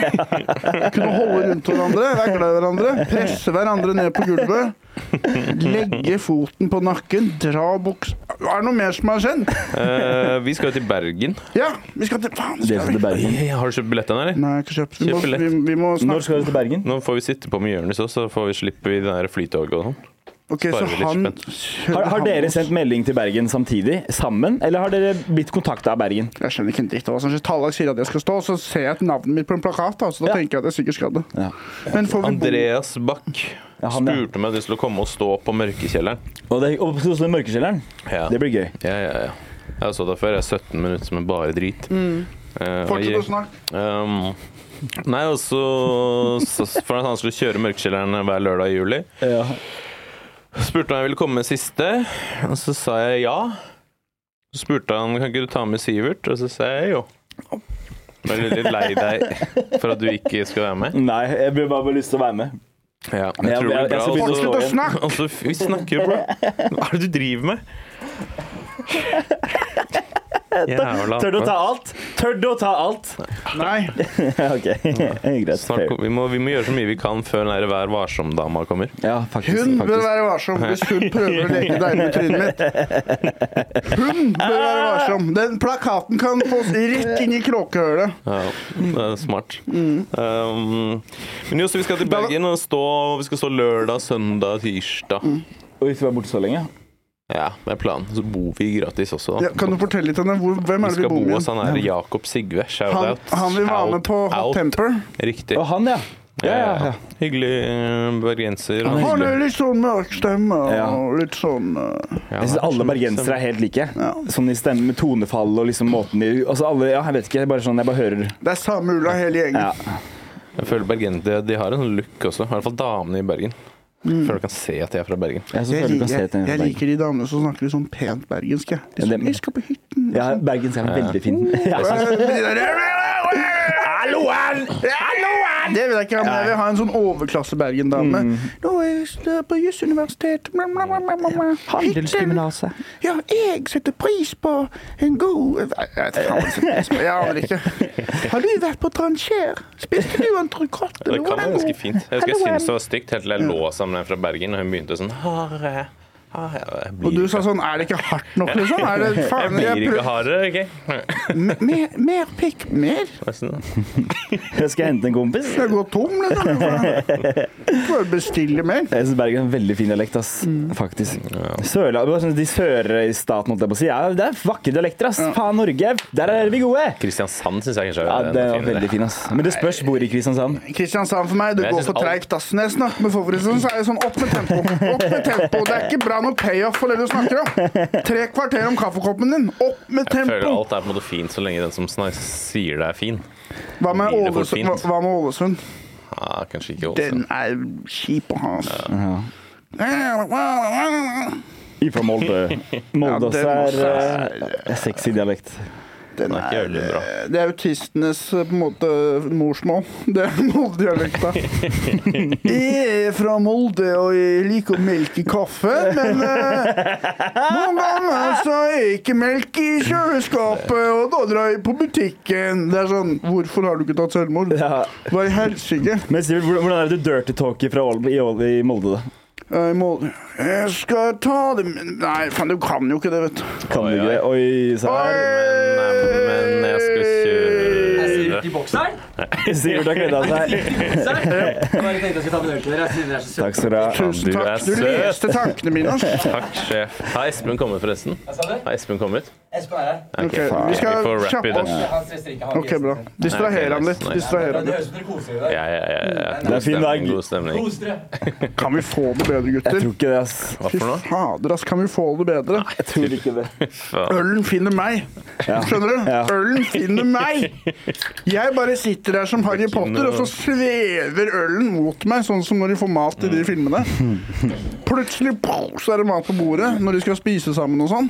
Kunne holde rundt hverandre, være glad i hverandre. Presse hverandre ned på gulvet. Legge foten på nakken, dra buks... Er det noe mer som har skjedd?
Eh, vi skal jo til
[LAUGHS]
Bergen.
Ja, vi skal til Faen,
Det
skal
er sånn
vi?
Bergen.
Hey, har du kjøpt billettene, eller?
Nei, jeg har ikke kjøpt. Vi må,
Kjøp billett.
vi, vi må
Når
snakke
skal du til Bergen?
Nå får vi sitte på med Jonis òg, så får vi slippe i det der flytoget og sånn.
Ok, så
Sparer vi litt
han
Har, har dere sendt melding til Bergen samtidig? Sammen? Eller har dere blitt kontakta av Bergen?
Jeg skjønner ikke en dritt av hva som skjer. Tallak sier at jeg skal stå, så ser jeg et navn mitt på en plakat, da, så da
Ja.
tenker jeg at jeg sikkert skal det.
Ja.
Men får vi bo
Andreas Bach
Ja, han, ja.
spurte meg om jeg skulle komme og stå på Mørkekjelleren.
Og, det, og så den mørkekjelleren?
Ja.
Det blir gøy.
Ja, ja, ja. Jeg har stått der før. Jeg er 17 minutter som er bare drit. Eh, og
Mm. Fortsett å
jeg-
snakke.
Um, nei, og så så- For at han skulle kjøre Mørkekjelleren hver lørdag i juli.
Ja.
Spurte han om jeg ville komme med siste, og så sa jeg ja. Så spurte han kan ikke du ta med Sivert, og så sa jeg jo. Jeg er litt lei deg for at du ikke skal være med.
Nei, jeg blir bare bare lyst til å være med.
Ja, jeg
Jeg-
tror det
jeg-
blir
jeg
bra.
skal
og
begynne å
Fortsett
så-
å
igjen.
snakke!
Altså, f- vi snakker jo, bro. Hva er det du driver
[LAUGHS]
med? Jævla
Tør du å
ape.
ta alt? Tør du å ta alt?
Nei.
[LAUGHS] ok, greit.
Snart, kom- vi, må, vi må gjøre så mye vi kan før den der Vær varsom-dama kommer.
Ja, faktisk.
Hun bør
faktisk.
være varsom hvis
[LAUGHS]
hun prøver å leke deg med trynet mitt. Hun bør være varsom. Den plakaten kan få oss rett inn i kråkehølet.
Ja, det er smart.
Mm.
Um, men jo, så vi skal til Bergen og stå, vi skal stå lørdag, søndag, tirsdag.
Mm.
Oi, skal vi være borte så lenge?
Ja, det er planen. Så bor vi gratis også.
Ja,
Da.
kan du fortelle litt om den? Hvor- Hvem
Vi
er det vi
skal bo
bor med?
hos han her Jakob Sigve.
Han,
Shout-out.
han vil være med på Hot
Shout-out.
Temper.
Riktig.
Å, han, ja. Ja, ja, ja.
Hyggelig eh, bergenser.
Han er
Han
hyggelig.
er litt sånn mørk stemme
Ja.
og litt sånn eh,
Ja,
Jeg syns alle bergensere er helt like. Sånn i stemme, med tonefall og liksom måten de Altså alle Ja, jeg vet ikke. Bare sånn, jeg bare hører
Det er samme ulla hele gjengen.
Ja.
Jeg føler bergensere de har en sånn look også. I hvert fall damene i Bergen.
Mm.
Jeg føler du kan se at de er fra Bergen.
Jeg, så
Jeg,
føler du
liker,
kan se til
jeg, jeg
Bergen.
liker de damene som snakker litt sånn pent bergensk. jeg. De
Ja,
som,
det-
jeg skal på hytten.
Ja, bergensk er veldig fin. [LAUGHS] Ja.
Halloen! Halloen! Det vil jeg ikke ha, men jeg vil ha en sånn overklasse-Bergen-dame.
Mm.
Nå er jeg st- på Jusuniversitet. bla, bla, bla, bla, bla. Hytten.
Handelsgymnaset.
Ja, jeg setter pris på en god Nei, Jeg vet faen hva jeg setter pris på. Jeg aner ikke.
[LAUGHS]
Har du vært på Trancher? Spiste du entrecôte?
Det
eller
kan
var
være
den
ganske
god?
fint. Jeg husker jeg
Halloen.
syntes det var stygt helt til jeg lå sammen med en fra Bergen, og hun begynte sånn Hare, hare. Jeg blir
Og du
ikke-
sa sånn Er det ikke hardt nok, liksom? Er det
Jeg
faen
blir
jeg
ikke
prøv-
hardere, OK?
Mer, mer pikk? Mer?
Hva er sånn?
Jeg skal hente en kompis.
Skal jeg gå tom, liksom? Bare bestille mer.
Jeg synes Bergen har en veldig fin dialekt, ass. Faktisk. Sørla, bare sånn, de sørstaten, holdt jeg på å si. Ja, det er vakre dialekter, ass. Faen, Norge. Der er vi gode.
Kristiansand syns jeg kanskje
Ja,
er
det var
enda finere.
veldig fin, ass. Men det spørs hvor i Kristiansand.
Kristiansand for meg, det
Men jeg
går
synes
for liksom.
alt-
treigt. ass. Når jeg snakker med Favoritt, så er jeg sånn opp med tempo. Opp med tempo. Det er ikke bra noe payoff for det du snakker om. Tre kvarter om kaffekoppen din. Opp med
Føler
tempo.
alt er på en måte fint så lenge den som snak- sier det er fin.
Hva med
Blir det for
Ålesund?
fint?
Hva- Hva med Ålesund?
Ja, kanskje ikke
Den
Ålesund.
er kjip å ha, altså.
[LAUGHS]
Ifra Molde. Molde
Ja, den
også
også
er eh, sexy dialekt.
Den
er ikke
er,
jævlig bra.
eh, det er autistenes eh, på en måte morsmål. [LAUGHS] Det er
[LAUGHS]
Molde-dialekta. Jeg er fra Molde, og jeg liker å melke kaffe, men eh, noen ganger så er ikke melk i kjøleskapet, og da drar jeg på butikken. Det er sånn Hvorfor har du ikke tatt selvmord?
Ja.
Hva i helsike?
Men Sivert, hvordan hvordan er det du dirty talker fra Ål- i, Ål- i Molde, da?
Jeg, må, jeg skal ta det men Nei, faen, du kan jo ikke det, vet du.
Kan
Oi,
du ikke det? Oi, se her.
Men, eh, men jeg skal
Er
kjøre
Sivert i bokseren?
Sivert har kledd av seg.
Bokseren? Jeg bare tenkte jeg skulle ta med en øl til dere. Siden dere er så søte.
Takk skal du ha.
Faen,
Tusen
du er
takk. Du
søt.
leste tankene mine. ass.
[LAUGHS] Takk, sjef. Har Espen kommet, forresten?
Hva sa du?
Har Espen kommet?
Espen er her.
Ok,
Ok,
faen.
vi skal
Vi får rappe
kjappe
det.
oss.
Han stresser ikke. Han
Ok, bra. Distraher han litt.
Nei,
Distraher
Det
han litt.
høres ut som dere koser dere i dag.
Ja, ja, ja, ja.
Det
er fin
God
dag.
stemning, God stemning.
Kos dere.
Kan vi få det bedre,
Jeg
gutter?
tror ikke det, ass.
Hva
Fy
for noe?
fader, ass. Kan vi få det bedre?
Jeg tror ikke det.
Faen.
Ølen finner meg. Skjønner du?
Ja.
Ølen finner meg! Jeg bare sitter der som Harry Potter, og så svever ølen mot meg, sånn som når de får mat i
Mm.
de filmene. Plutselig pow, så er det mat på bordet når de skal spise sammen og sånn.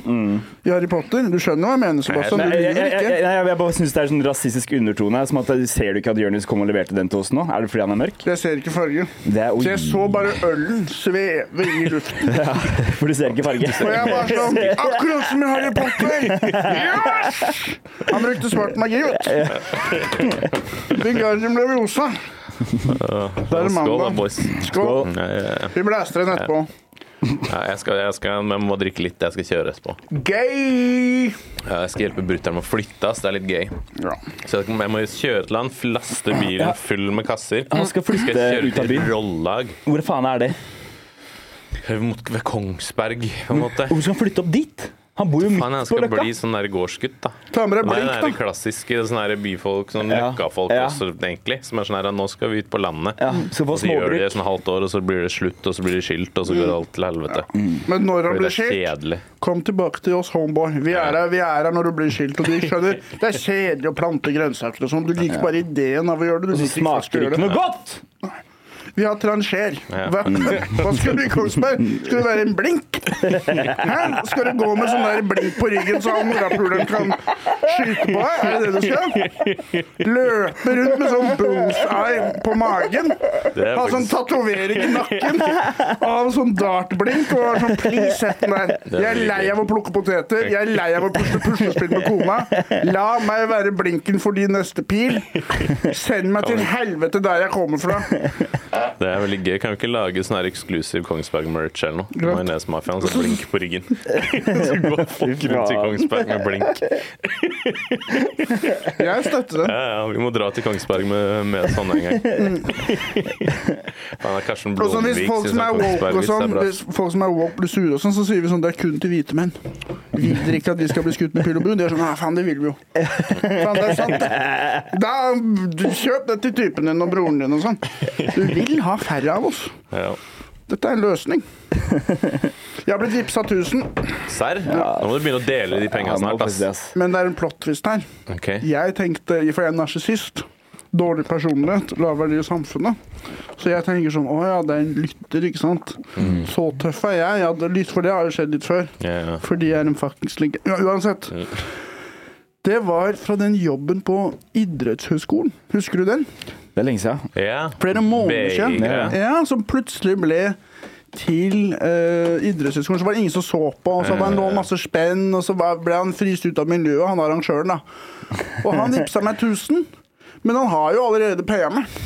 I Harry Potter. Du skjønner hva jeg mener, Sebastian?
Nei,
Du
Mm. Jeg, jeg,
lyver
jeg, jeg,
ikke.
jeg, jeg bare syns det er sånn rasistisk undertone. her, Som at eh, Ser du ikke at Jonis kom og leverte den til oss nå? Er det fordi han er mørk?
Jeg ser ikke farge.
Det er,
Så jeg så bare ølen sveve i luften.
ja, [LAUGHS] For du ser ikke farge?
Og jeg var sånn Akkurat som i Harry Potter! Yes! Han brukte svart magi, vet du. Wingardium Leviosa. Da er det
Skål, da,
mandag.
boys.
Skål.
Ja, ja, ja.
Vi blæster den etterpå.
Ja, jeg, skal, jeg, skal, jeg må drikke litt. Jeg skal kjøre Espen.
Gay!
Ja, Jeg skal hjelpe brutter'n med å flytte. ass. Det er litt gøy.
Ja.
Så jeg jeg må jo kjøre til han, laste bilen full med kasser.
Han skal flytte
jeg kjøre
ut av
til
byen.
Rollag.
Hvor faen er det?
Mot, ved Kongsberg, på en måte.
Hvorfor skal han flytte opp dit? Han bor jo
Han
midt
jeg
på
skal
Løkka.
bli sånn der gårdsgutt, da.
Ta med deg
Det er
blink,
den der
da.
klassiske sånn der byfolk, sånn
Ja.
løkkafolk
Ja.
også, egentlig. Som er sånn her Nå skal vi ut på landet.
Ja, skal få
Og så gjør de det
småbruk.
sånn halvt år, og så blir det slutt, og så blir det skilt, og så går alt til helvete.
Men når han
Fordi det
blir
er
skilt,
kjedelig.
kom tilbake til oss, homeboy. Vi er her, vi er her når du blir skilt. Og de skjønner, det er kjedelig å plante grønnsaker og sånn. Du liker bare ideen av å gjøre det. Du liker ikke å
Smaker
gjøre
ikke
det.
noe godt!
Vi har transjer.
Ja.
Hva, hva skal du i Kongsberg? Skal du være en blink? Hæ? Skal du gå med sånn der blink på ryggen så han morapuleren kan skyte på deg? Er det det du skal? Løpe rundt med sånn bullseye på magen?
Det er
Ha sånn
faktisk-
tatovering i nakken av sånn dartblink og være sånn please, sett den der. Jeg er lei av å plukke poteter. Jeg er lei av å pusle puslespill med kona. La meg være blinken for din neste pil. Send meg til helvete der jeg kommer fra.
Det er veldig gøy. Kan vi ikke lage sånn her eksklusiv Kongsberg-merch eller noe?
Greit.
Majonesmafiaen som blink på
[LAUGHS]
ryggen. Så går folk rundt i Kongsberg med blink.
Jeg støtter den.
Ja, ja, vi må dra til Kongsberg med, med sånne en gang.
[LAUGHS]
Faen, det er Karsten
Og sånn, hvis
Blomvik
folk
synes
som
at
er woke
Kongsberg
og
visst er
sånn,
bra.
hvis folk som er woke blir sure og sånn, så sier vi sånn det er kun til hvite menn. Vi vil ikke at de skal bli skutt med pil og bue. De er sånn ja, faen, det vil vi jo. Faen, det er sant, det. Da, du, kjøp det til typen din og broren din og sånn. Du vil ha færre av oss.
Ja.
Dette er en løsning. Jeg har blitt vippsa 1000,
Serr? Nå må du begynne å dele de pengene
Han må
snart, ass.
flytte, ass.
men det er en plot-twist her.
Ok.
Jeg tenkte, for jeg er narsissist, dårlig personlighet, lav verdi i samfunnet. Så jeg tenker sånn, å ja, det er en lytter, ikke sant? Så tøff er jeg, ja, det, litt- for det har jo skjedd litt før.
Ja, ja.
Fordi jeg er en fuckings legende. Ja, uansett.
Mm.
Det var fra den jobben på idrettshøyskolen. Husker du den?
Det er lenge siden.
Ja.
Flere måneder siden.
Begge.
Ja, som plutselig ble til eh, idrettshøyskolen. Så var det ingen som så på, og så var han lå masse spenn, og så var- ble han fryst ut av miljøet, han arrangøren, da. Og han vippsa meg 1000, men han har jo allerede paya meg.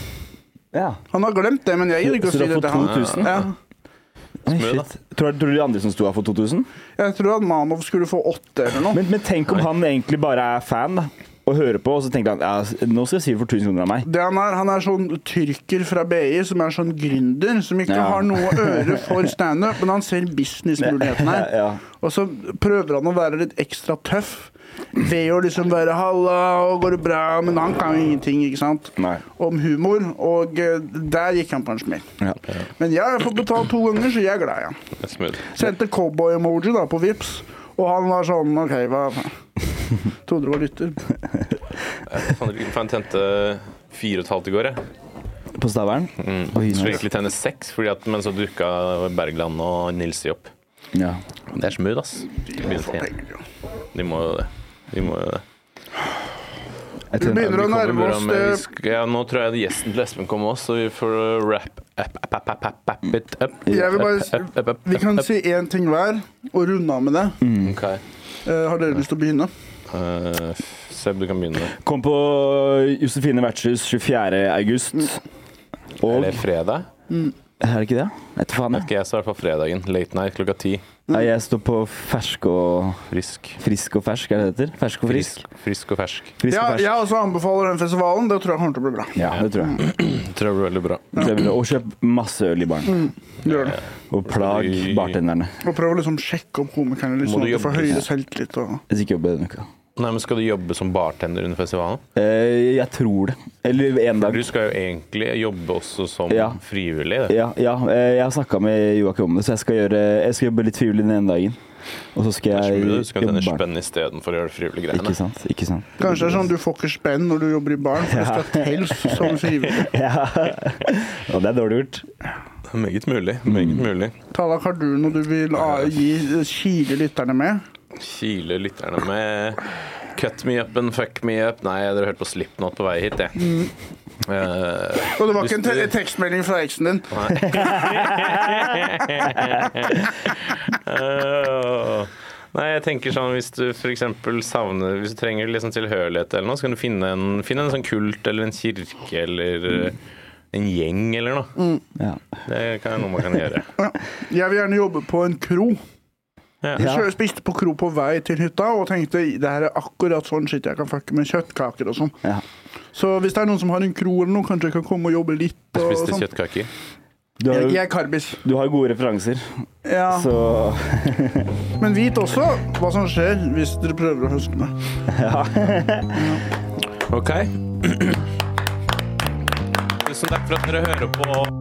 Ja.
Han har glemt det, men jeg gidder ikke å
Så du
si
har
det til
fått
han.
2000?
Ja.
Oi,
Smooth, da.
shit. Tror, tror du de andre som sto her, får 2000?
Jeg tror at Mamov skulle få åtte eller noe.
Men, men tenk om han egentlig bare er fan da, og hører på, og så tenker han ja, nå skal jeg si for 1000 kroner av meg.
Det han er, han er sånn tyrker fra BI, som er sånn gründer, som ikke
Ja.
har noe øre for standup, men han ser businessmuligheten her.
Ja.
Og så prøver han å være litt ekstra tøff. ved å liksom være 'halla, og går det bra?' Men han kan jo ingenting, ikke sant?
Nei.
Om humor. Og eh, der gikk han på en smell.
Ja.
Men jeg har fått betalt to ganger, så jeg er glad i han.
Det er smooth.
Sendte cowboy-emoji da på Vips og han var sånn OK, hva faen? Trodde du var lytter.
Jeg fant ikke- faen, tente fire og et halvt i går, jeg.
På Stavern. Oi,
Skulle
nice.
egentlig tenne seks, fordi at, men så dukka Bergland og Nilsi opp.
Ja.
Det er smooth, ass. De må jo det. De må jo det. De må jo det.
Vi
Jeg tenker-
begynner å
Vi kommer
nærme
bra
oss
med-
eh,
vi
det
skal- Ja, nå tror jeg at gjesten til Espen kommer også, så vi får uh, wrap up, up, up, up, up, up it up.
Jeg vil bare
Up,
si-
up, up, up,
Vi
up,
kan
up.
si én ting hver og runde av med det.
Ok.
Eh, har dere lyst til å begynne?
Uh, f- Seb, du kan begynne.
Kom på Josefine Vertshus 24. august.
Er
Og
det fredag?
Er det ikke det? Etter faen,
Ok, jeg står i hvert fall fredagen. Late night klokka ti.
ja. Jeg står på fersk og
Frisk.
Frisk og fersk, er det det heter? Fersk og frisk.
Frisk, frisk og fersk.
Frisk
Ja,
og
jeg
fersk.
også anbefaler den festivalen. Det tror jeg kommer til å bli bra.
Ja, det tror jeg.
Det tror jeg blir veldig bra.
Det blir, og kjøp masse øl i
Mm.
baren.
Gjør det.
Og plag bartenderne.
Og prøv å liksom sjekke om komikerne litt,
Må
sånn
du
at du får
jobbe litt?
høyere selvtillit. Og...
Hvis ikke jobber denne uka.
Nei, men Skal du jobbe som bartender under festivalen?
Eh, Jeg tror det. Eller en dag.
Du skal jo egentlig jobbe også som
Ja.
frivillig. Det.
Ja, ja eh, jeg har snakka med Joakim om det, så jeg skal, gjøre, jeg skal jobbe litt frivillig den ene dagen. Og så skal
er
jeg
smooth, Du skal
jobbe
tjene
barn.
spenn istedenfor å gjøre de frivillige
Ikke
greiene.
sant? ikke sant.
Kanskje det er sånn du får ikke spenn når du jobber i baren, for det skal tels som frivillig.
Ja. Og det er dårlig gjort.
Meget mulig.
Mm.
Meget mulig.
Tallak, har du noe du vil ah, gi kile lytterne med?
Kile lytterne med 'Cut me up and fuck me up'. Nei, dere hørte på Slipknot på vei hit, jeg. Eh,
Og det var
hvis
ikke en
du-
te tekstmelding fra eksen din.
Åh. [LAUGHS] Nei, jeg tenker sånn hvis du f.eks. savner Hvis du trenger liksom tilhørighet eller noe, så kan du finne en, finne en sånn kult eller en kirke eller
Mm.
eh, en gjeng eller noe.
Ja.
Det kan være noe man kan gjøre.
Jeg vil gjerne jobbe på en kro.
Ja.
Jeg kjø- spiste på kro på vei til hytta og tenkte det her er akkurat sånn shit jeg kan fucke med kjøttkaker og sånn.
Ja.
Så hvis det er noen som har en kro eller noe, kanskje jeg kan komme og jobbe litt. Og
Spiste
sånn.
kjøttkaker.
Du, har,
Jeg,
jo-
jeg er karbis.
du har gode referanser,
Ja.
så
Men vit også hva som skjer hvis dere prøver å høste meg.
OK. Tusen takk for at dere hører på.